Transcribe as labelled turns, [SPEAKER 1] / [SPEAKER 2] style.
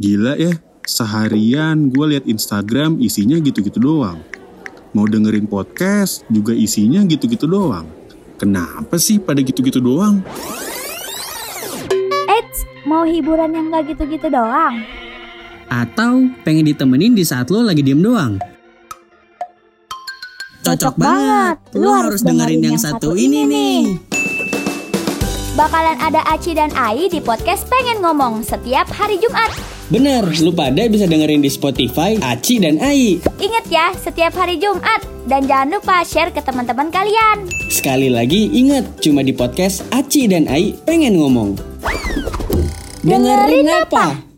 [SPEAKER 1] Gila ya, seharian gue liat Instagram isinya gitu-gitu doang. Mau dengerin podcast juga isinya gitu-gitu doang. Kenapa sih pada gitu-gitu doang?
[SPEAKER 2] Eits, mau hiburan yang gak gitu-gitu doang.
[SPEAKER 3] Atau pengen ditemenin di saat lo lagi diem doang?
[SPEAKER 2] Cocok banget.
[SPEAKER 3] Lo harus dengerin yang satu ini nih.
[SPEAKER 2] Bakalan ada Aci dan Ai di podcast Pengen Ngomong setiap hari Jumat.
[SPEAKER 3] Bener, lu pada bisa dengerin di Spotify, Aci dan Ai.
[SPEAKER 2] Ingat ya, setiap hari Jumat. Dan jangan lupa share ke teman-teman kalian.
[SPEAKER 3] Sekali lagi ingat, cuma di podcast Aci dan Ai pengen ngomong.
[SPEAKER 2] Dengerin apa?